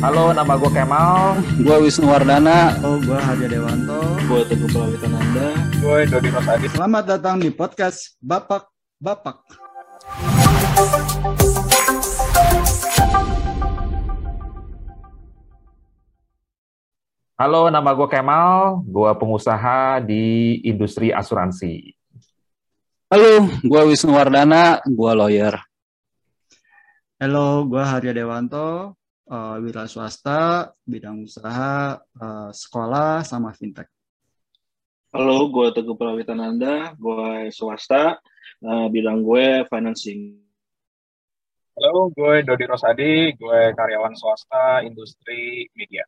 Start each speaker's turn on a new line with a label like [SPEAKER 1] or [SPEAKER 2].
[SPEAKER 1] Halo, nama gue Kemal.
[SPEAKER 2] Gue Wisnu Wardana.
[SPEAKER 3] Oh, gue Harja Dewanto.
[SPEAKER 4] Gue Teguh Prawitananda.
[SPEAKER 5] Gue Dodi Rosadi.
[SPEAKER 3] Selamat datang di podcast Bapak Bapak.
[SPEAKER 1] Halo, nama gue Kemal. Gue pengusaha di industri asuransi.
[SPEAKER 2] Halo, gue Wisnu Wardana. Gue lawyer.
[SPEAKER 3] Halo, gue Harya Dewanto, uh, wira swasta, bidang usaha, uh, sekolah, sama fintech.
[SPEAKER 4] Halo, gue Teguh Prawitananda, gue swasta, uh, bidang gue financing.
[SPEAKER 5] Halo, gue Dodi Rosadi, gue karyawan swasta, industri media.